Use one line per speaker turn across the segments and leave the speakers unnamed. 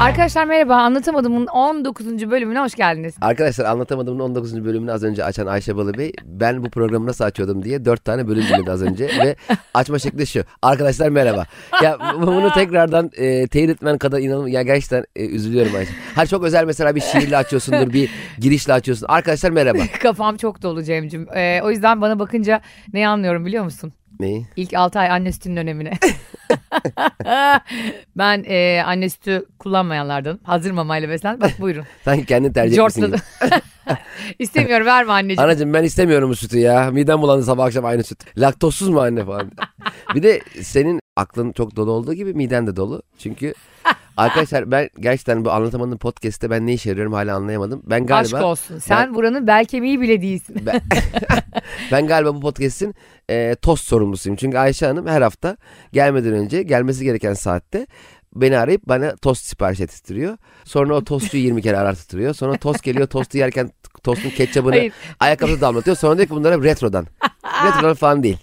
Arkadaşlar merhaba Anlatamadım'ın 19. bölümüne hoş geldiniz.
Arkadaşlar anlatamadığımın 19. bölümünü az önce açan Ayşe Balıbey ben bu programı nasıl açıyordum diye 4 tane bölüm dinledi az önce ve açma şekli şu. Arkadaşlar merhaba. Ya bu- bunu tekrardan e, teyit etmen kadar inanılmaz. Ya gerçekten e, üzülüyorum Ayşe. Her çok özel mesela bir şiirle açıyorsundur bir girişle açıyorsun. Arkadaşlar merhaba.
Kafam çok dolu Cem'cim. Ee, o yüzden bana bakınca neyi anlıyorum biliyor musun?
Neyi?
İlk 6 ay anne sütünün önemine. ben e, anne sütü kullanmayanlardan hazır mamayla beslen. Bak buyurun.
Sanki kendin tercih etmişsin gibi.
Jortladım. İstemiyorum verme anneciğim.
Anacığım ben istemiyorum bu sütü ya. Midem bulandı sabah akşam aynı süt. Laktozsuz mu anne falan. bir de senin aklın çok dolu olduğu gibi miden de dolu. Çünkü arkadaşlar ben gerçekten bu anlatamadığım podcast'te ben ne işe yarıyorum hala anlayamadım. Ben
Aşk
galiba
olsun. Sen buranın bel kemiği bile değilsin.
ben, ben galiba bu podcast'in e, tost sorumlusuyum. Çünkü Ayşe Hanım her hafta gelmeden önce gelmesi gereken saatte beni arayıp bana tost sipariş ettiriyor. Sonra o tostu 20 kere arattırıyor. Sonra tost geliyor tostu yerken tostun ketçabını
Hayır.
Ayakkabısı damlatıyor. Sonra diyor ki bunlar hep retrodan. retrodan falan değil.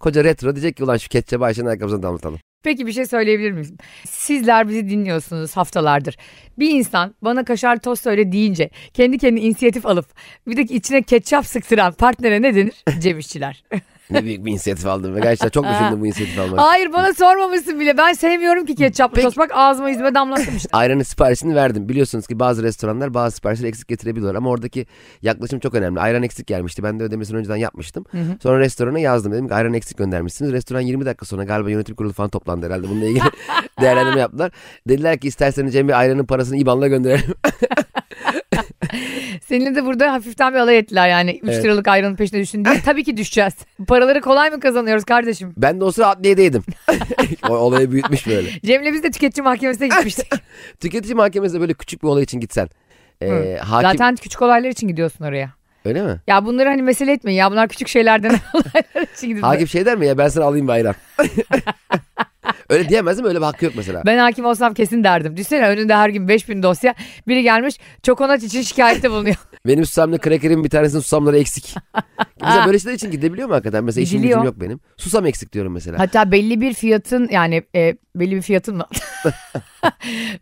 Koca retro diyecek ki ulan şu ketçabı Ayşe'nin ayakkabısına damlatalım.
Peki bir şey söyleyebilir miyim? Sizler bizi dinliyorsunuz haftalardır. Bir insan bana kaşar tost söyle deyince kendi kendine inisiyatif alıp bir de içine ketçap sıktıran partnere ne denir? Cem İşçiler.
Ne büyük bir inisiyatif aldım. Ve gerçekten çok düşündüm bu inisiyatif almak.
Hayır bana sormamışsın bile. Ben sevmiyorum ki ketçaplı
Peki.
tost. Bak ağzıma yüzüme damlattım işte.
Ayranın siparişini verdim. Biliyorsunuz ki bazı restoranlar bazı siparişleri eksik getirebiliyorlar. Ama oradaki yaklaşım çok önemli. Ayran eksik gelmişti. Ben de ödemesini önceden yapmıştım. Sonra restorana yazdım. Dedim ki ayran eksik göndermişsiniz. Restoran 20 dakika sonra galiba yönetim kurulu falan toplandı herhalde. Bununla ilgili değerlendirme yaptılar. Dediler ki isterseniz Cem Bey ayranın parasını IBAN'la gönderelim.
Seninle de burada hafiften bir alay ettiler yani. 3
Evet.
liralık ayranın peşine düştün diye. Tabii ki düşeceğiz. Paraları kolay mı kazanıyoruz kardeşim?
ben de o sıra adliyedeydim. o olayı büyütmüş böyle.
Cem'le biz de tüketici mahkemesine gitmiştik.
Tüketici mahkemesine böyle küçük bir olay için gitsen. Ee,
Hı.
hakim
Zaten küçük olaylar için gidiyorsun oraya.
öyle mi?
Ya bunları hani mesele etmeyin ya bunlar küçük şeylerden olaylar için gidiyor.
Hakim şey der mi ya ben sana alayım bir ayran. öyle diyemez mi? Öyle bir hakkı yok mesela.
Ben hakim olsam kesin derdim. Düşsene önünde her gün 5000 dosya. Biri gelmiş çokonat için şikayette bulunuyor.
Benim susamlı krekerin bir tanesinin susamları eksik. mesela böyle şeyler için gidebiliyor mu hakikaten? Mesela işim
Gidiliyor.
gücüm yok benim. Susam eksik diyorum mesela.
Hatta belli bir fiyatın yani e, belli bir fiyatın mı?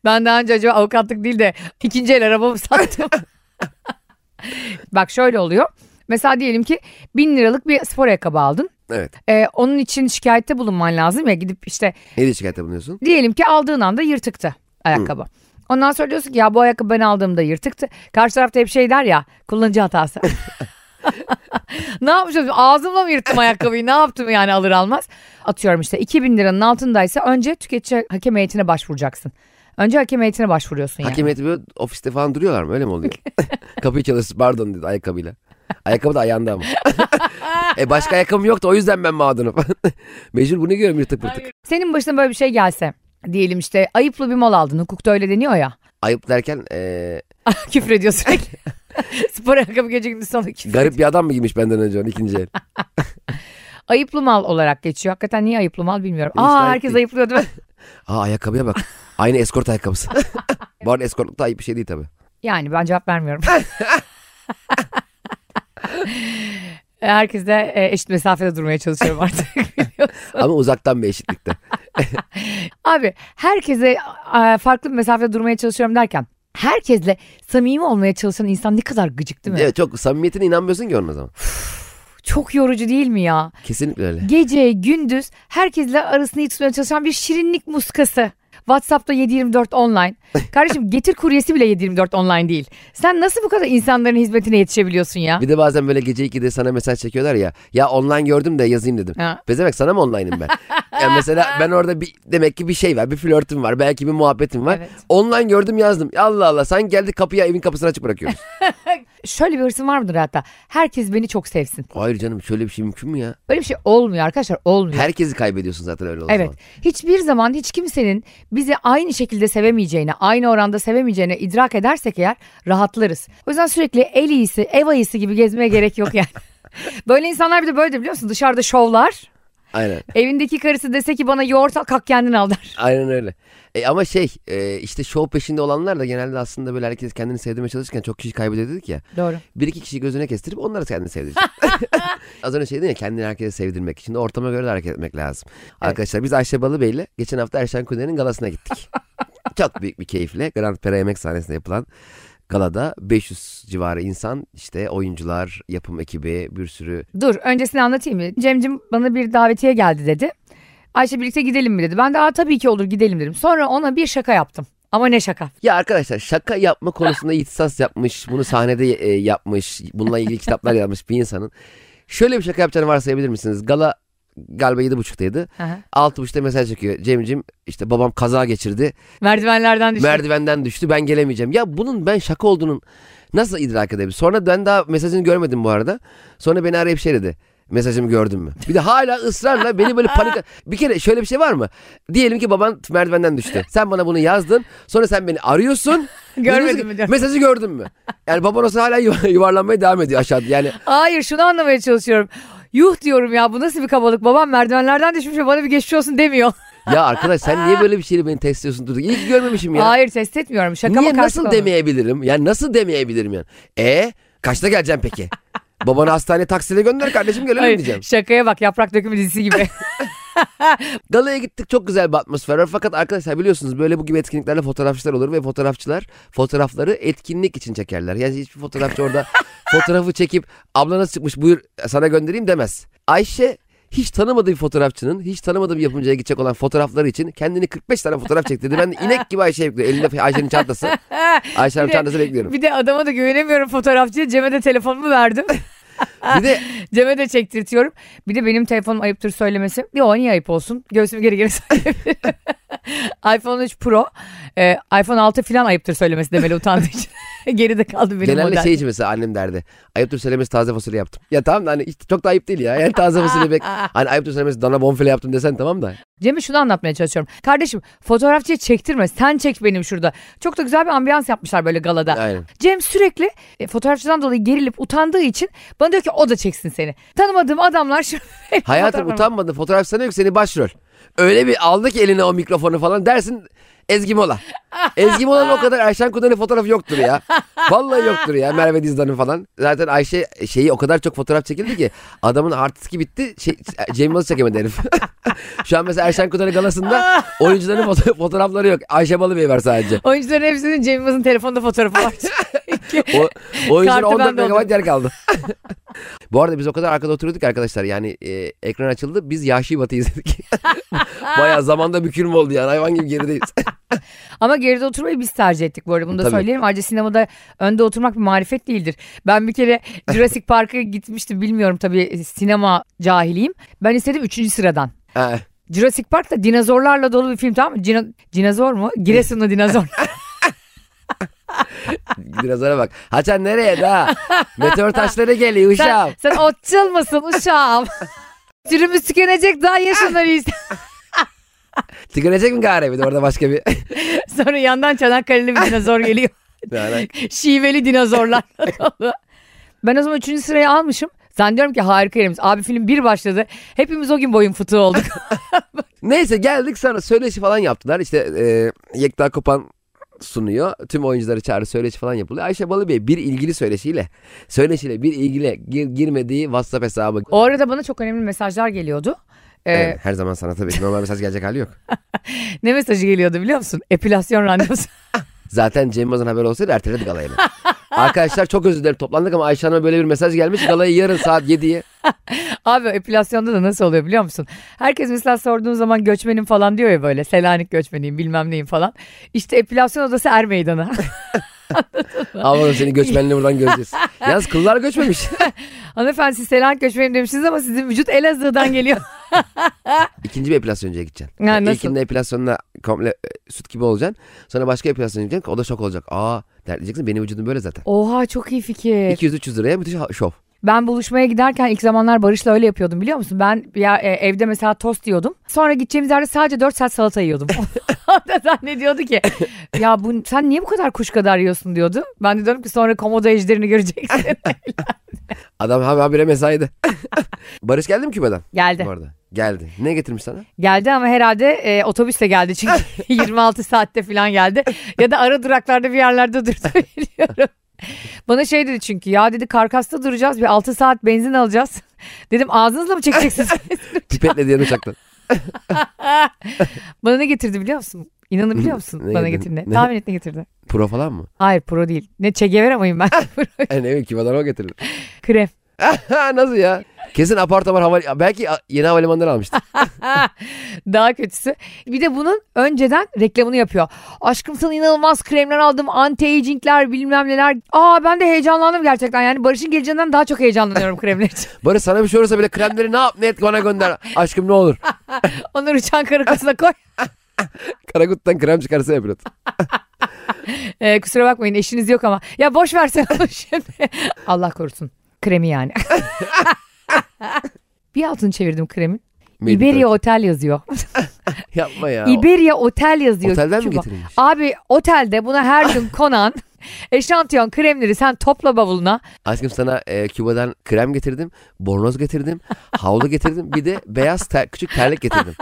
ben daha önce acaba avukatlık değil de ikinci el arabamı sattım. Bak şöyle oluyor. Mesela diyelim ki bin liralık bir spor ayakkabı aldın.
Evet.
E, onun için şikayette bulunman lazım ya gidip işte
Ne diye şikayette bulunuyorsun?
Diyelim ki aldığın anda yırtıktı ayakkabı. Ondan sonra diyorsun ki ya bu ayakkabı ben aldığımda yırtıktı. Karşı tarafta hep şey der ya kullanıcı hatası. ne yapmışım? Ağzımla mı yırttım ayakkabıyı? Ne yaptım yani alır almaz? Atıyorum işte 2000 liranın altındaysa önce tüketici hakem heyetine başvuracaksın. Önce hakem heyetine başvuruyorsun yani.
Hakim heyeti böyle ofiste falan duruyorlar mı? Öyle mi oluyor? Kapıyı çalışsın pardon dedi ayakkabıyla. Ayakkabı da ayağında ama. e başka ayakkabım yoktu o yüzden ben mağdurum. Mecbur bunu görüyorum yırtık pırtık.
Senin başına böyle bir şey gelse diyelim işte ayıplı bir mal aldın. Hukukta öyle deniyor ya.
Ayıp derken eee,
Küfür ediyor sürekli. Spor ayakkabı gece gündüz sana küfür.
garip bir adam mı giymiş benden önce onu ikinci el?
Ayıplı mal olarak geçiyor. Hakikaten niye ayıplı mal bilmiyorum.
Hiç
Aa
ayıp
herkes
değil.
ayıplıyor değil mi?
Aa ayakkabıya bak. Aynı eskort ayakkabısı. Bu arada eskortluk da ayıp bir şey değil tabii.
Yani ben cevap vermiyorum. Herkes de e, eşit mesafede durmaya çalışıyorum artık.
Ama uzaktan bir eşitlikte.
Abi herkese e, farklı bir mesafede durmaya çalışıyorum derken herkesle samimi olmaya çalışan insan ne kadar gıcık değil mi?
Evet çok samimiyetine inanmıyorsun ki onun o zaman.
Çok yorucu değil mi ya?
Kesinlikle öyle.
Gece, gündüz herkesle arasını iyi tutmaya çalışan bir şirinlik muskası. WhatsApp'ta 724 online. Kardeşim getir kuryesi bile 724 online değil. Sen nasıl bu kadar insanların hizmetine yetişebiliyorsun ya?
Bir de bazen böyle gece 2'de sana mesaj çekiyorlar ya. Ya online gördüm de yazayım dedim.
Ha.
Bezemek sana mı online'ım ben? ya mesela ben orada bir demek ki bir şey var. Bir flörtüm var. Belki bir muhabbetim var.
Evet.
Online gördüm yazdım. Ya Allah Allah sen geldi kapıya evin kapısını açık bırakıyoruz.
Şöyle bir hırsım var mıdır hatta? Herkes beni çok sevsin.
Hayır canım şöyle bir şey mümkün mü ya?
Böyle bir şey olmuyor arkadaşlar olmuyor.
Herkesi kaybediyorsun zaten öyle olduğu
Evet.
zaman.
Hiçbir zaman hiç kimsenin bizi aynı şekilde sevemeyeceğine, aynı oranda sevemeyeceğine idrak edersek eğer rahatlarız. O yüzden sürekli el iyisi, ev ayısı gibi gezmeye gerek yok yani. böyle insanlar bir de böyle biliyor musun? Dışarıda şovlar.
Aynen. Aynen.
Evindeki karısı dese ki bana yoğurt al, kalk kendin al der.
Aynen öyle. E, ama şey e, işte şov peşinde olanlar da genelde aslında böyle herkes kendini sevdirmeye çalışırken çok kişi kaybediyor dedik ya.
Doğru.
Bir iki kişi gözüne kestirip onları kendini sevdirecek. Az önce şey dedin ya kendini herkese sevdirmek için de ortama göre de hareket etmek lazım. Arkadaşlar biz Ayşe Balıbey ile geçen hafta Erşen Kuner'in galasına gittik. Çok büyük bir keyifle Grand Pera yemek sahnesinde yapılan galada 500 civarı insan işte oyuncular, yapım ekibi bir sürü
Dur öncesini anlatayım mı? Cemcim bana bir davetiye geldi dedi. Ayşe birlikte gidelim mi dedi. Ben de Aa, tabii ki olur gidelim dedim. Sonra ona bir şaka yaptım. Ama ne şaka.
Ya arkadaşlar şaka yapma konusunda ihtisas yapmış, bunu sahnede e, yapmış, bununla ilgili kitaplar yazmış bir insanın. Şöyle bir şaka yapacağını varsayabilir misiniz? Gala galiba 7.30'daydı.
Aha.
6.30'da mesaj çekiyor. Cemcim işte babam kaza geçirdi.
Merdivenlerden düştüm.
Merdivenden düştü ben gelemeyeceğim. Ya bunun ben şaka olduğunun nasıl idrak edebilirim? Sonra ben daha mesajını görmedim bu arada. Sonra beni arayıp şey dedi. Mesajımı gördün mü? Bir de hala ısrarla beni böyle panik... Bir kere şöyle bir şey var mı? Diyelim ki baban merdivenden düştü. Sen bana bunu yazdın. Sonra sen beni arıyorsun. Diyorsun ki,
Görmedim mi? diyor.
Mesajı gördün mü? Yani baban olsa hala yuva- yuvarlanmaya devam ediyor aşağıda. Yani
Hayır şunu anlamaya çalışıyorum. Yuh diyorum ya bu nasıl bir kabalık. Babam merdivenlerden düşmüş ve bana bir geçmiş olsun demiyor.
ya arkadaş sen niye böyle bir şeyle beni test ediyorsun durduk. İyi ki görmemişim ya.
Hayır test etmiyorum. Şaka
Niye
mı karşı
nasıl
konuda?
demeyebilirim? Yani nasıl demeyebilirim yani? E kaçta geleceğim peki? Babanı hastaneye taksiyle gönder kardeşim gelelim
Hayır,
diyeceğim.
şakaya bak yaprak dökümü dizisi gibi.
Galaya gittik çok güzel bir atmosfer var. Fakat arkadaşlar biliyorsunuz böyle bu gibi etkinliklerle fotoğrafçılar olur ve fotoğrafçılar fotoğrafları etkinlik için çekerler. Yani hiçbir fotoğrafçı orada fotoğrafı çekip abla nasıl çıkmış buyur sana göndereyim demez. Ayşe hiç tanımadığı bir fotoğrafçının, hiç tanımadığı bir yapımcıya gidecek olan fotoğrafları için kendini 45 tane fotoğraf çektirdi. Ben de inek gibi Ayşe bekliyorum. Elinde Ayşe'nin çantası. Ayşe'nin
Bir de-
çantası bekliyorum.
bir de adama da güvenemiyorum fotoğrafçıya. Cem'e de telefonumu verdim.
Bir de
Cem'e de çektirtiyorum. Bir de benim telefonum ayıptır söylemesi. Yo niye ayıp olsun? Göğsümü geri geri saklayabilirim. iPhone 3 Pro. e, iPhone 6 falan ayıptır söylemesi demeli utandığı için. Geride kaldı benim
Genelde
model.
şey için mesela annem derdi. Ayıptır söylemesi taze fasulye yaptım. Ya tamam da hani hiç- çok da ayıp değil ya. Yani taze fasulye bek. Hani ayıptır söylemesi dana bonfile yaptım desen tamam da.
Cem'e şunu anlatmaya çalışıyorum. Kardeşim fotoğrafçıya çektirme. Sen çek benim şurada. Çok da güzel bir ambiyans yapmışlar böyle galada.
Aynen.
Cem sürekli e, fotoğrafçıdan dolayı gerilip utandığı için bana diyor ki o da çeksin seni. Tanımadığım adamlar şu
Hayatım
Fotoğraflarım-
utanmadın. Fotoğraf sana yok seni başrol. Öyle bir aldı ki eline o mikrofonu falan dersin Ezgi Mola. Ezgi Mola'nın o kadar Ayşen Kudan'ın fotoğrafı yoktur ya. Vallahi yoktur ya Merve Dizdan'ın falan. Zaten Ayşe şeyi o kadar çok fotoğraf çekildi ki adamın artisti bitti. Şey, Cem Yılmaz çekemedi herif. Şu an mesela Ayşen Kudan'ın galasında oyuncuların foto- fotoğrafları yok. Ayşe Balıbey var sadece.
Oyuncuların hepsinin Cem Yılmaz'ın telefonda fotoğrafı var.
O, o yüzden
Kartı
14
ben doldurdum.
megabayt yer kaldı. Bu arada biz o kadar arkada oturuyorduk ki arkadaşlar yani e, ekran açıldı biz Yahşi Batı izledik. Bayağı zamanda bükülme oldu yani hayvan gibi gerideyiz.
Ama geride oturmayı biz tercih ettik bu arada. Bunu da
Tabii.
söyleyelim. Ayrıca sinemada önde oturmak bir marifet değildir. Ben bir kere Jurassic Park'a gitmiştim. Bilmiyorum tabii sinema cahiliyim. Ben istedim 3. sıradan.
Ha,
Jurassic Park da dinozorlarla dolu bir film tamam mı? Cino- dinozor mu? Giresunlu dinozor.
Dinozora bak. Haçan nereye daha? Meteor taşları geliyor uşağım.
sen, sen otçul mısın uşağım? Sürümüz tükenecek daha ye şunları işte.
Tükenecek mi gari? Bir de orada başka bir...
Sonra yandan Çanakkale'li bir dinozor geliyor.
Yani
Şiveli dinozorlar. ben o zaman üçüncü sırayı almışım. Zannediyorum ki harika yerimiz. Abi film bir başladı. Hepimiz o gün boyun fıtığı olduk.
Neyse geldik sonra söyleşi falan yaptılar. İşte e, Yekta Kopan sunuyor. Tüm oyuncuları çağrı söyleşi falan yapılıyor. Ayşe Balıbey bir ilgili söyleşiyle, söyleşiyle bir ilgili gir- girmediği WhatsApp hesabı
o arada bana çok önemli mesajlar geliyordu. Ee,
Evet, her zaman sana tabii ki normal mesaj gelecek hali yok.
Ne mesajı geliyordu biliyor musun? Epilasyon randevusu.
Zaten Cem Yılmaz'ın haberi olsaydı erteledik galayı. Arkadaşlar çok özür dilerim toplandık ama Ayşe Hanım'a böyle bir mesaj gelmiş. Galayı yarın saat 7'ye.
Abi epilasyonda da nasıl oluyor biliyor musun? Herkes mesela sorduğun zaman göçmenim falan diyor ya böyle. Selanik göçmeniyim bilmem neyim falan. İşte epilasyon odası Er Meydanı.
Aman seni göçmenle buradan göreceğiz. Yalnız kıllar göçmemiş.
Hanımefendi siz Selanik göçmeniyim demişsiniz ama sizin vücut Elazığ'dan geliyor.
İkinci bir epilasyoncuya gideceksin.
Ha,
Yani
nasıl?
İlkinde epilasyonla komple e, süt gibi olacaksın. Sonra başka epilasyoncuya gideceksin. O da şok olacak. Aa der diyeceksin benim vücudum böyle zaten.
Oha çok iyi fikir.
200-300 liraya müthiş ha- şov.
Ben buluşmaya giderken ilk zamanlar Barış'la öyle yapıyordum biliyor musun? Ben ya, e, evde mesela tost yiyordum. Sonra gideceğimiz yerde sadece 4 saat salata yiyordum. o da zannediyordu ki ya bu, sen niye bu kadar kuş kadar yiyorsun diyordu. Ben de diyorum ki sonra komodo ejderini göreceksin.
Adam ha- habire mesaiydi. Barış geldi mi Küba'dan?
geldi.
Bu arada. Geldi. Ne getirmiş sana?
Geldi ama herhalde e, otobüsle geldi çünkü 26 saatte falan geldi. Ya da ara duraklarda bir yerlerde durdu biliyorum. Bana şey dedi çünkü ya dedi karkasta duracağız bir 6 saat benzin alacağız. Dedim ağzınızla mı çekeceksiniz?
Pipetle diyen uçaktan.
Bana ne getirdi biliyor musun? İnanabiliyor musun
Ne
bana
yedin?
getirdi?
Ne?
Tahmin et ne getirdi?
Pro falan mı?
Hayır pro değil. Ne çegevere amayım ben?
E, ne bileyim kim adamı getirir.
Krem.
Nasıl ya? Kesin apar topar hava... Belki a- yeni havalimanından almıştı.
Daha kötüsü. Bir de bunun önceden reklamını yapıyor. Aşkım sana inanılmaz kremler aldım. Anti-agingler bilmem neler. Aa ben de heyecanlandım gerçekten. Yani Barış'ın geleceğinden daha çok heyecanlanıyorum kremler için.
Barış sana bir şey olursa bile kremleri ne yap ne et bana gönder. Aşkım ne olur.
Onları uçan karakasına koy.
Karakut'tan krem çıkarsa pilot.
Ee, kusura bakmayın eşiniz yok ama. Ya boş versene onu şimdi. Allah korusun. Kremi yani. bir altını çevirdim kremin. Iberia Otel yazıyor.
Yapma ya.
Iberia Otel yazıyor.
Otelden mi
Küba.
getirilmiş?
Abi otelde buna her gün konan eşantiyon kremleri sen topla bavuluna.
Aşkım sana e, Küba'dan krem getirdim. Bornoz getirdim. Havlu getirdim. Bir de beyaz ter- küçük terlik getirdim.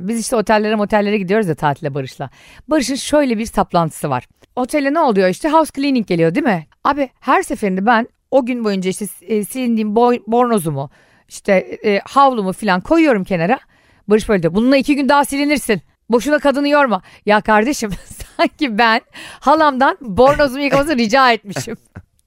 Biz işte otellere motellere gidiyoruz ya tatile Barış'la. Barış'ın şöyle bir saplantısı var. Otele ne oluyor işte house cleaning geliyor değil mi? Abi her seferinde ben o gün boyunca işte e, silindiğim boy, bornozumu işte e, havlumu falan koyuyorum kenara. Barış böyle diyor bununla iki gün daha silinirsin. Boşuna kadını yorma. Ya kardeşim sanki ben halamdan bornozumu yıkamasını rica etmişim.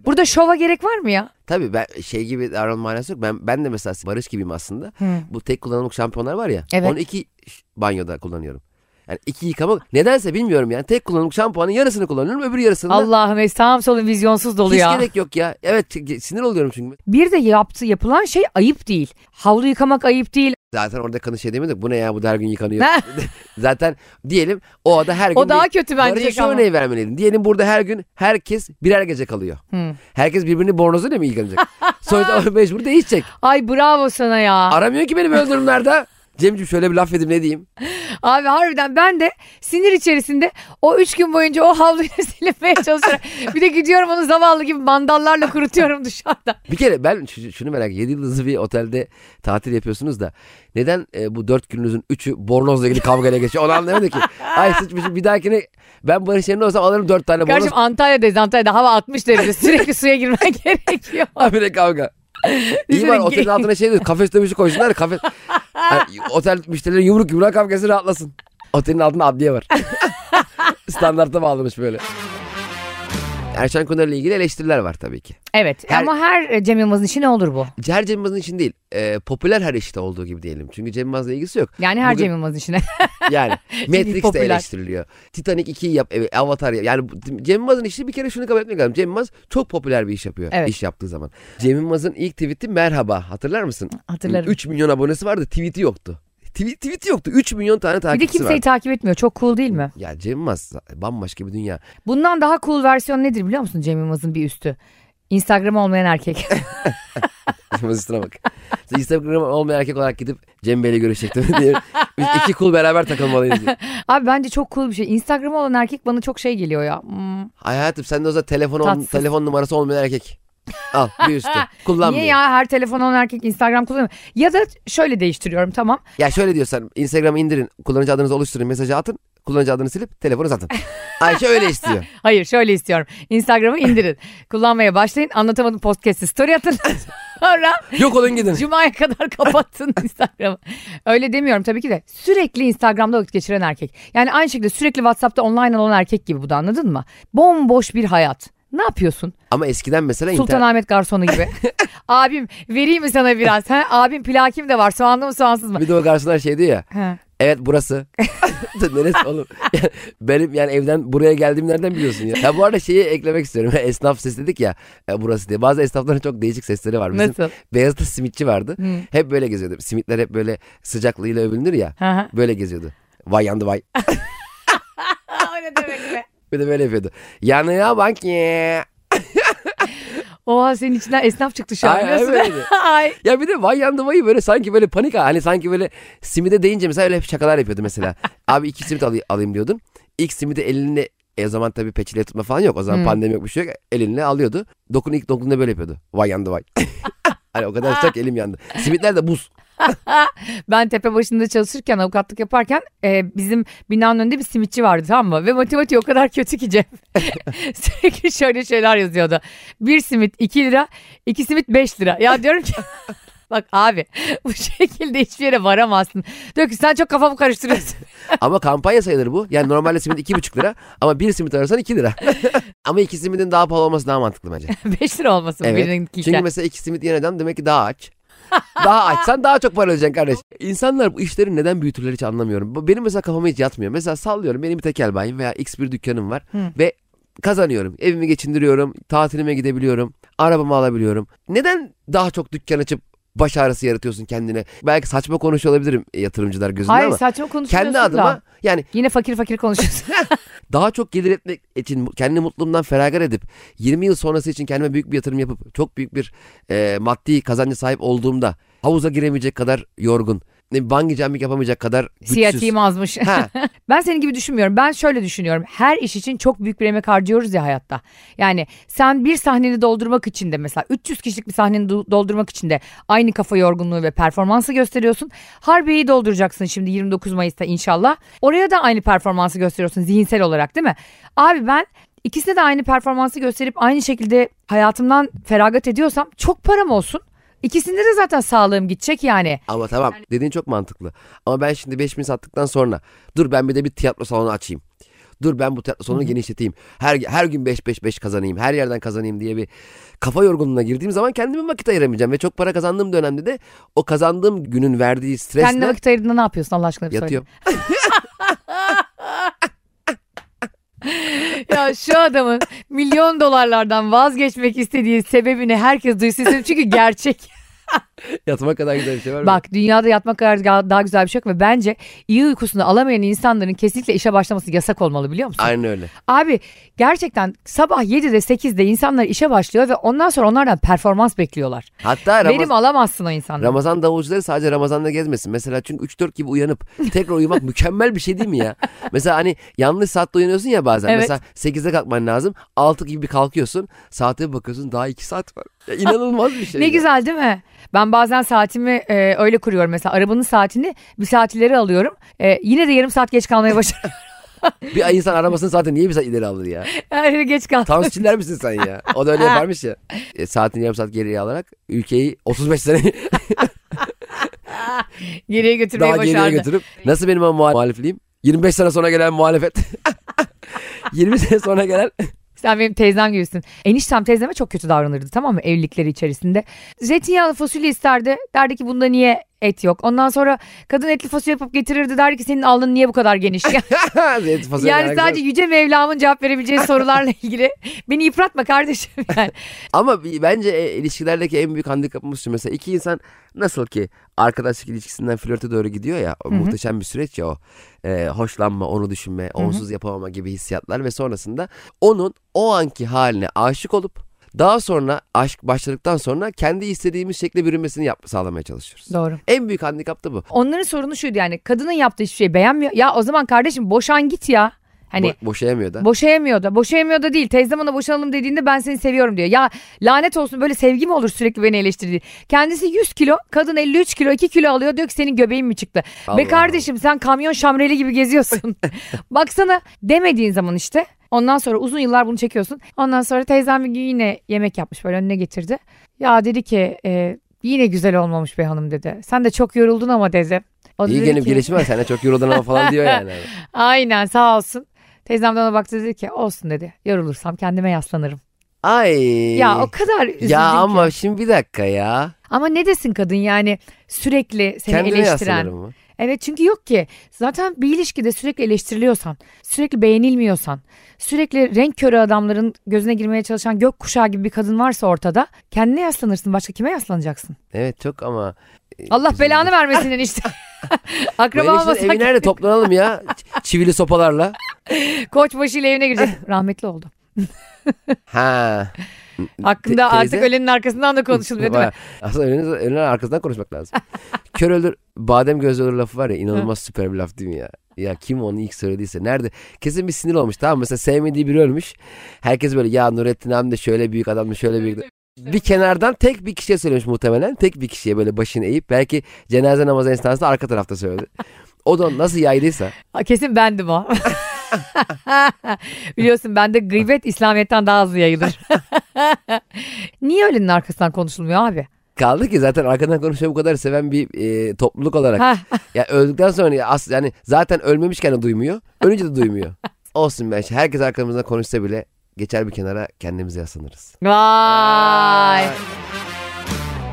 Burada şova gerek var mı ya?
Tabii ben şey gibi davranma manası yok. Ben, ben de mesela Barış gibiyim aslında. Bu tek kullanımlık şampiyonlar var ya.
Evet.
Onu iki ş- banyoda kullanıyorum. Yani iki yıkama nedense bilmiyorum yani. Tek kullanımlık şampuanın yarısını kullanıyorum öbür yarısını da
Allah'ım ey sağım solum vizyonsuz dolu
hiç
ya.
gerek yok ya. Evet ge- sinir oluyorum çünkü.
Bir de yaptı yapılan şey ayıp değil. Havlu yıkamak ayıp değil.
Zaten orada kanı şey demedik. Bu ne ya bu da her gün yıkanıyor.
Ne?
Zaten diyelim o da her gün.
O daha
bir-
kötü bence.
Barış'a şu
yıkama.
örneği vermeliydin. Diyelim burada her gün herkes birer gece kalıyor.
Hı.
Herkes birbirini bornozuyla mı yıkanacak? Sonuçta mecbur değişecek.
Ay bravo sana ya.
Aramıyor ki beni böyle durumlarda. Cemciğim şöyle bir laf edeyim ne diyeyim?
Abi harbiden ben de sinir içerisinde o üç gün boyunca o havluyla silinmeye çalışıyorum. bir de gidiyorum onu zavallı gibi mandallarla kurutuyorum dışarıda.
Bir kere ben şu- şunu merak ediyorum. 7 yıldızlı bir otelde tatil yapıyorsunuz da neden e, bu 4 gününüzün 3'ü bornozla ilgili kavgayla geçiyor? Onu anlamadım ki. Ay sıçmışım bir dahakine ben Barış yerinde olsam alırım 4 tane bornoz.
Kardeşim Antalya'dayız. Antalya'da hava 60 derece. Sürekli suya girmen gerekiyor.
Habire kavga. İyi var
Düşünün,
otelin
ge-
altına şey diyor. Kafes dövüşü koysunlar. Kafes... Hani otel müşterileri yumruk yumruğa kavgası rahatlasın. Otelin altında adliye var. Standarta bağlamış böyle. Erşen Kuner'le ilgili eleştiriler var tabii ki.
Evet
Her-
ama her Cem Yılmaz'ın işi ne olur bu?
Her Cem Yılmaz'ın için değil. e, popüler her işte olduğu gibi diyelim. Çünkü Cem Yılmaz'la ilgisi yok.
Yani her
Bugün-
Cem Yılmaz'ın işine.
Yani Matrix de
popüler.
eleştiriliyor. Titanic 2'yi yap, evet, Avatar yap. Yani bu- Cem Yılmaz'ın işi bir kere şunu kabul etmek lazım. Cem Yılmaz çok popüler bir iş yapıyor.
Evet.
iş yaptığı zaman. Cem Yılmaz'ın ilk tweet'i merhaba. Hatırlar mısın?
Hatırlarım.
3 milyon abonesi vardı tweet'i yoktu. Tweet, tweet'i yoktu. 3 milyon tane
bir de
takipçisi
kimseyi
vardı.
takip etmiyor. Çok cool değil mi?
Ya Cem Yılmaz bambaşka bir dünya.
Bundan daha cool versiyon nedir biliyor musun Cem Yılmaz'ın bir üstü? Instagram olmayan erkek.
Cem Yılmaz üstüne bak. İşte Instagram olmayan erkek olarak gidip Cem Bey'le görüşecektim diye. Biz iki kul beraber takılmalıyız diye.
Abi bence çok cool bir şey. Instagram olan erkek bana çok şey geliyor ya. Hmm.
Ay hayatım sen de o zaman telefon, ol-
Tatsız.
telefon numarası olmayan erkek. Al bir üstü. Kullanmıyor.
Niye ya her telefon olan erkek Instagram kullanıyor. Ya da şöyle değiştiriyorum tamam.
Ya şöyle diyorsan Instagram'ı indirin, kullanıcı adınızı oluşturun, mesajı atın, kullanıcı adını silip telefonu satın. Ayşe öyle istiyor.
Hayır şöyle istiyorum. Instagram'ı indirin. Kullanmaya başlayın. Anlatamadım podcast'i story atın. Sonra
Yok olun gidin.
cumaya kadar kapatın Instagram'ı. Öyle demiyorum tabii ki de. Sürekli Instagram'da vakit geçiren erkek. Yani aynı şekilde sürekli WhatsApp'ta online olan erkek gibi bu da anladın mı? Bomboş bir hayat. Ne yapıyorsun?
Ama eskiden mesela internet...
Sultanahmet garsonu gibi. abim vereyim mi sana biraz? Ha, abim plakim de var. Soğanlı mı soğansız mı?
Bir de o garsonlar şey diyor ya.
Ha.
Evet burası. Neresi oğlum? Yani Benim yani evden buraya geldiğim nereden biliyorsun ya? Ya bu arada şeyi eklemek istiyorum. Esnaf ses dedik ya e, burası diye. Bazı esnafların çok değişik sesleri var. Bizim
Nasıl?
Beyazıt'ta simitçi vardı.
Hı.
Hep böyle geziyordu. Simitler hep böyle sıcaklığıyla övünür ya.
Ha, ha.
Böyle geziyordu. Vay yandı vay.
O ne demek be?
Bir de böyle yapıyordu. Yanıyor bak ya.
Oha senin içinden esnaf çıktı şu an
Ay,
biliyorsun.
öyleydi.
Ay.
Ya bir de vay yandı vayı böyle sanki böyle panik ha. Hani sanki böyle simide deyince mesela öyle hep şakalar yapıyordu mesela. Abi iki simit alayım, alayım diyordun. İlk simidi elini e o zaman tabii peçete tutma falan yok. O zaman
Hmm.
pandemi yok bir şey yok. Elinle alıyordu. Dokun ilk dokunduğunda böyle yapıyordu. Vay yandı vay. hani o kadar sıcak elim yandı. Simitler de buz.
Ben tepe başında çalışırken avukatlık yaparken e, bizim binanın önünde bir simitçi vardı tamam mı? Ve matematiği o kadar kötü ki Cem. Sürekli şöyle şeyler yazıyordu. Bir simit 2 lira, iki simit 5 lira. Ya diyorum ki Bak abi bu şekilde hiçbir yere varamazsın. Diyor ki sen çok kafamı karıştırıyorsun.
Ama kampanya sayılır bu. Yani normalde simit iki buçuk lira ama bir simit alırsan iki lira. ama iki simidin daha pahalı olması daha mantıklı bence.
5 lira olmasın
Evet.
birininkinden.
Çünkü mesela iki simit yiyen adam demek ki daha aç. daha açsan daha çok para ödeyeceksin kardeş. İnsanlar bu işleri neden büyütürler hiç anlamıyorum. Bu- Benim mesela kafama hiç yatmıyor. Mesela sallıyorum benim bir tekel bayim veya x bir dükkanım var.
Hı.
Ve kazanıyorum. Evimi geçindiriyorum. Tatilime gidebiliyorum. Arabamı alabiliyorum. Neden daha çok dükkan açıp baş ağrısı yaratıyorsun kendine? Belki saçma konuşuyor olabilirim e, yatırımcılar gözünde
Hayır
ama.
saçma konuşuyorsun
Kendi
da.
adıma yani
Yine fakir fakir konuşuyorsun.
daha çok gelir etmek için kendi mutluluğumdan feragat edip 20 yıl sonrası için kendime büyük bir yatırım yapıp çok büyük bir e, maddi kazanca sahip olduğumda havuza giremeyecek kadar yorgun, ne bungee jumping yapamayacak kadar güçsüz.
Siyatiğim azmış.
Ha,
Ben senin gibi düşünmüyorum. Ben şöyle düşünüyorum. Her iş için çok büyük bir emek harcıyoruz ya hayatta. Yani sen bir sahneni doldurmak için de mesela 300 kişilik bir sahneni do- doldurmak için de aynı kafa yorgunluğu ve performansı gösteriyorsun. Harbiye'yi dolduracaksın şimdi 29 Mayıs'ta inşallah. Oraya da aynı performansı gösteriyorsun zihinsel olarak değil mi? Abi ben ikisine de aynı performansı gösterip aynı şekilde hayatımdan feragat ediyorsam çok param olsun. İkisinde de zaten sağlığım gidecek yani.
ama tamam dediğin çok mantıklı. Ama ben şimdi 5000 sattıktan sonra dur ben bir de bir tiyatro salonu açayım. Dur ben bu tiyatro salonu genişleteyim. Her her gün 5 5 5 kazanayım. Her yerden kazanayım diye bir kafa yorgunluğuna girdiğim zaman kendime vakit ayıramayacağım ve çok para kazandığım dönemde de o kazandığım günün verdiği stresle
Kendine vakit ayırdığında ne yapıyorsun Allah aşkına bir söyle.
yatıyorum.
Ya şu adamın milyon dolarlardan vazgeçmek istediği sebebini herkes duysun istedim. Çünkü gerçek.
Yatma kadar güzel bir şey var mı?
Bak dünyada yatmak kadar daha güzel bir şey yok ve bence iyi uykusunu alamayan insanların kesinlikle işe başlaması yasak olmalı biliyor musun?
Aynen öyle.
Abi gerçekten sabah 7'de 8'de insanlar işe başlıyor ve ondan sonra onlardan performans bekliyorlar.
Hatta Ramaz-
Verim alamazsın o insanları.
Ramazan davulcuları sadece Ramazan'da gezmesin. Mesela çünkü 3-4 gibi uyanıp tekrar uyumak mükemmel bir şey değil mi ya? Mesela hani yanlış saatte uyanıyorsun ya bazen.
Evet.
Mesela 8'de kalkman lazım. 6 gibi kalkıyorsun. Saate bir bakıyorsun daha 2 saat var. Ya inanılmaz bir şey.
Ne
ya.
güzel değil mi? Ben bazen saatimi e, öyle kuruyorum mesela arabanın saatini bir saatleri alıyorum. E, yine de yarım saat geç kalmaya başlıyorum.
Bir insan arabasını zaten niye bir saat ileri alır ya?
Yani geç kal.
Tansiçiller misin sen ya? O da öyle yaparmış ya. E, saatini yarım saat geriye alarak ülkeyi 35 sene
Geriye götürmeyi
daha geriye
başardı.
götürüp nasıl benim o muha- muhalifliğim? 25 sene sonra gelen muhalefet. 20 sene sonra gelen
Sen benim teyzem gibisin. Eniştem teyzeme çok kötü davranırdı tamam mı evlilikleri içerisinde. Zeytinyağlı fasulye isterdi. Derdi ki bunda niye et yok. Ondan sonra kadın etli fasulye yapıp getirirdi. Derdi ki senin alnın niye bu kadar geniş?
Zeytin fasulye
yani
alakası
sadece
var.
yüce Mevlam'ın cevap verebileceği sorularla ilgili. Beni yıpratma kardeşim. Yani.
Ama bi- bence e, ilişkilerdeki en büyük handikapımız şu. Mesela iki insan nasıl ki arkadaşlık ilişkisinden flörte doğru gidiyor ya. o
Hı hı.
Muhteşem bir süreç ya o. E, hoşlanma, onu düşünme,
hı.
onsuz yapamama gibi hissiyatlar ve sonrasında onun o anki haline aşık olup daha sonra aşk başladıktan sonra kendi istediğimiz şekle bürünmesini yap- sağlamaya çalışıyoruz.
Doğru.
En büyük handikap da bu.
Onların sorunu şuydu yani kadının yaptığı hiçbir şey beğenmiyor. Ya o zaman kardeşim boşan git ya. Hani
Bo- boşayamıyor da.
Boşayamıyor da. Boşayamıyor da değil. Teyzem ona boşanalım dediğinde ben seni seviyorum diyor. Ya lanet olsun böyle sevgi mi olur sürekli beni eleştirdiği. Kendisi 100 kilo, kadın 53 kilo, 2 kilo alıyor. Diyor ki senin göbeğin mi çıktı?
Allah
Be kardeşim sen kamyon şamreli gibi geziyorsun. Baksana demediğin zaman işte. Ondan sonra uzun yıllar bunu çekiyorsun. Ondan sonra teyzem bir gün yine yemek yapmış böyle önüne getirdi. Ya dedi ki e, yine güzel olmamış be hanım dedi. Sen de çok yoruldun ama dedi. O da
İyi
dedi
gelip
ki-
gelişim var. Sen de çok yoruldun ama falan diyor yani.
Aynen sağ olsun. Teyzem de ona baktı dedi ki olsun dedi. Yorulursam kendime yaslanırım.
Ay.
Ya o kadar üzüldüm
Ya
ki.
ama şimdi bir dakika ya.
Ama ne desin kadın yani sürekli seni
Kendine
eleştiren.
yaslanırım mı?
Evet çünkü yok ki. Zaten bir ilişkide sürekli eleştiriliyorsan, sürekli beğenilmiyorsan, sürekli renk körü adamların gözüne girmeye çalışan gök kuşağı gibi bir kadın varsa ortada kendine yaslanırsın. Başka kime yaslanacaksın?
Evet çok ama. e,
Allah
üzüldüm.
belanı vermesin enişte.
Bu
Akraba
eniştenin evi
olmasak
nerede toplanalım ya? Ç- Çivili sopalarla.
koçbaşı ile evine girecek. Rahmetli oldu.
Ha.
Hakkında
Te-
artık
teyze?
ölenin arkasından da konuşulmuyor değil mi?
Vay. Aslında ölenin, ölenin arkasından konuşmak lazım. Kör ölür, badem gözü ölür lafı var ya inanılmaz süper bir laf değil mi ya? Ya kim onu ilk söylediyse nerede? Kesin bir sinir olmuş tamam mı? Mesela sevmediği biri ölmüş. Herkes böyle ya Nurettin abi de şöyle büyük adam da şöyle büyük. Bir kenardan tek bir kişiye söylemiş muhtemelen. Tek bir kişiye böyle başını eğip belki cenaze namazı esnasında arka tarafta söyledi. O da nasıl yaydıysa.
Ha, Kesin bendim o. Biliyorsun bende gıybet İslamiyet'ten daha hızlı yayılır. Niye ölenin arkasından konuşulmuyor abi?
Kaldı ki zaten arkadan konuşmayı bu kadar seven bir e, topluluk olarak.
Ha,
Ya öldükten sonra ya as, yani zaten ölmemişken de duymuyor. Ölünce de duymuyor. Olsun ben. Herkes arkamızdan konuşsa bile geçer bir kenara kendimize yaslanırız.
Vay.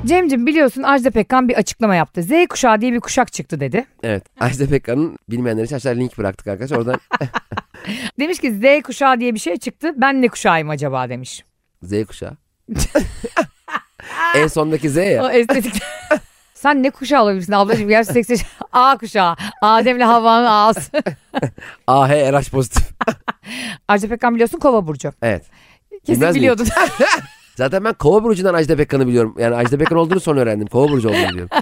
Cemcim biliyorsun Ajda Pekkan bir açıklama yaptı. Z kuşağı diye bir kuşak çıktı dedi.
Evet. Ajda Pekkan'ın bilmeyenler için aşağıya link bıraktık arkadaşlar. Oradan
Demiş ki Z kuşağı diye bir şey çıktı. Ben ne kuşağıyım acaba demiş.
Z kuşağı. en sondaki Z ya.
O estetik. Sen ne kuşağı olabilirsin ablacığım? Gerçi 80 A kuşağı. Adem'le Havva'nın A'sı.
AH RH pozitif.
Ajda Pekkan biliyorsun kova burcu.
Evet.
Kesin
Bilmez miyim?
biliyordun.
Zaten ben Kova Burcu'ndan Ajda Pekkan'ı biliyorum. Yani Ajda Pekkan olduğunu sonra öğrendim. Kova Burcu olduğunu biliyorum.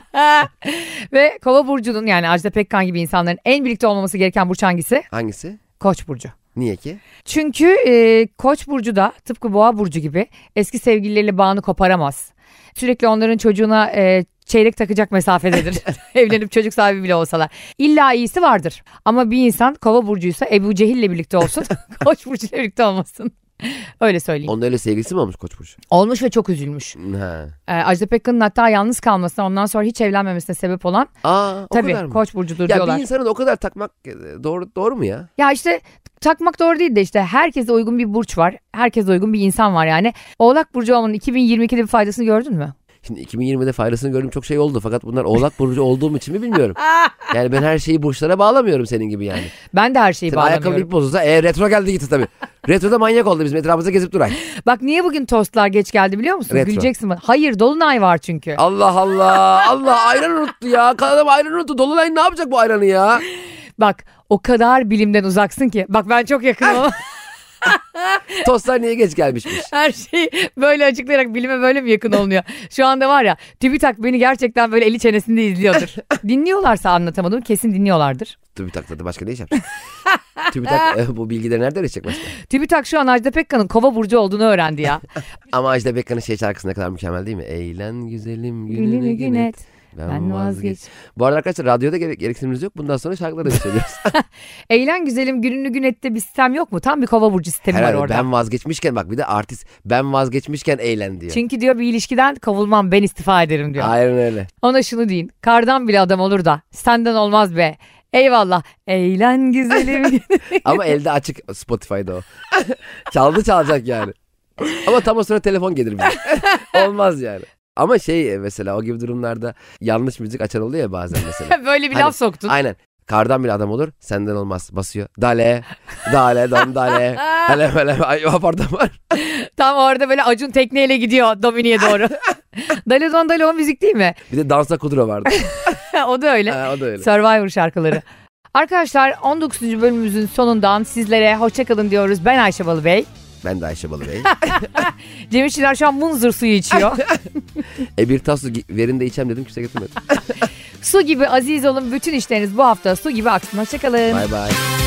Ve kova burcunun yani Ajda Pekkan gibi insanların en birlikte olmaması gereken burç hangisi?
Hangisi?
Koç burcu.
Niye ki?
Çünkü e, Koç burcu da tıpkı Boğa burcu gibi eski sevgilileriyle bağını koparamaz. Sürekli onların çocuğuna e, çeyrek takacak mesafededir. Evlenip çocuk sahibi bile olsalar. İlla iyisi vardır. Ama bir insan Kova burcuysa Ebu Cehil'le birlikte olsun. Koç burcuyla birlikte olmasın. Öyle söyleyeyim.
Onda öyle sevgilisi mi olmuş Koç Burcu?
Olmuş ve çok üzülmüş.
Ha.
E, Ajda Pekkan'ın hatta yalnız kalmasına ondan sonra hiç evlenmemesine sebep olan
Aa, o kadar
tabii
mı?
Koç burcudur
ya
diyorlar.
bir insanın o kadar takmak e, doğru doğru mu ya?
Ya işte takmak doğru değil de işte herkese uygun bir burç var. Herkese uygun bir insan var yani. Oğlak Burcu olmanın 2022'de bir faydasını gördün mü?
Şimdi 2020'de faydasını gördüğüm çok şey oldu fakat bunlar Oğlak Burcu olduğum için mi bilmiyorum. Yani ben her şeyi burçlara bağlamıyorum senin gibi yani.
Ben de her şeyi
Senin ayakkabı
bağlamıyorum.
bir bozulsa e, retro geldi gitti tabii. Retro da manyak oldu bizim etrafımızda gezip duray.
Bak niye bugün tostlar geç geldi biliyor musun?
Retro.
Güleceksin bana. Hayır Dolunay var çünkü.
Allah Allah Allah ayran unuttu ya. Adam ayran unuttu. Dolunay ne yapacak bu ayranı ya?
Bak o kadar bilimden uzaksın ki. Bak ben çok yakınım ama
Tostlar niye geç gelmişmiş?
her şeyi böyle açıklayarak bilime böyle mi yakın olunuyor? Şu anda var ya TÜBİTAK beni gerçekten böyle eli çenesinde izliyordur. Dinliyorlarsa anlatamadım kesin dinliyorlardır.
TÜBİTAK tadı başka ne iş yapacak? TÜBİTAK e, bu bilgileri nereden öğretecek başka?
TÜBİTAK şu an Ajda Pekkan'ın kova burcu olduğunu öğrendi ya.
Ama Ajda Pekkan'ın şey şarkısı ne kadar mükemmel değil mi? Eğlen güzelim gününü
Gününü gün
güne.
et.
Ben,
Ben
vazgeç.
vazgeç.
Bu arada arkadaşlar radyoda gere- gereksinimiz yok. Bundan sonra şarkıları da söylüyoruz.
Eğlen güzelim gününü gün ette bir sistem yok mu? Tam bir kova burcu sistemi
Herhalde
var orada.
ben vazgeçmişken bak bir de artist ben vazgeçmişken eğlen diyor.
Çünkü diyor bir ilişkiden kovulmam ben istifa ederim diyor.
Aynen öyle.
Ona şunu deyin. Kardan bile adam olur da senden olmaz be. Eyvallah. Eğlen güzelim.
Ama elde açık Spotify'da o. Çaldı çalacak yani. Ama tam o sıra telefon gelir bize. Olmaz yani. Ama şey e, mesela o gibi durumlarda yanlış müzik açan oluyor ya bazen mesela.
Böyle bir
Hani-
laf soktun.
Aynen. Kardan bile adam olur. Senden olmaz. Basıyor. Dale. Dale. Don dale. hele hele. Ay pardon var.
Tam orada böyle Acun tekneyle gidiyor Domini'ye doğru. Dalodon Dalon müzik değil mi?
Bir de dansa kudro vardı.
o da öyle.
ha, o da öyle.
Survivor şarkıları. Arkadaşlar 19. bölümümüzün sonundan sizlere hoşçakalın diyoruz. Ben Ayşe Balıbey.
Ben de Ayşe Balı Bey.
Cemil Çiler şu an munzur suyu içiyor.
e bir tas su gi- verin de içem dedim kimse getirmedi.
Su gibi aziz olun. Bütün işleriniz bu hafta su gibi aksın. Hoşçakalın.
Bay bay.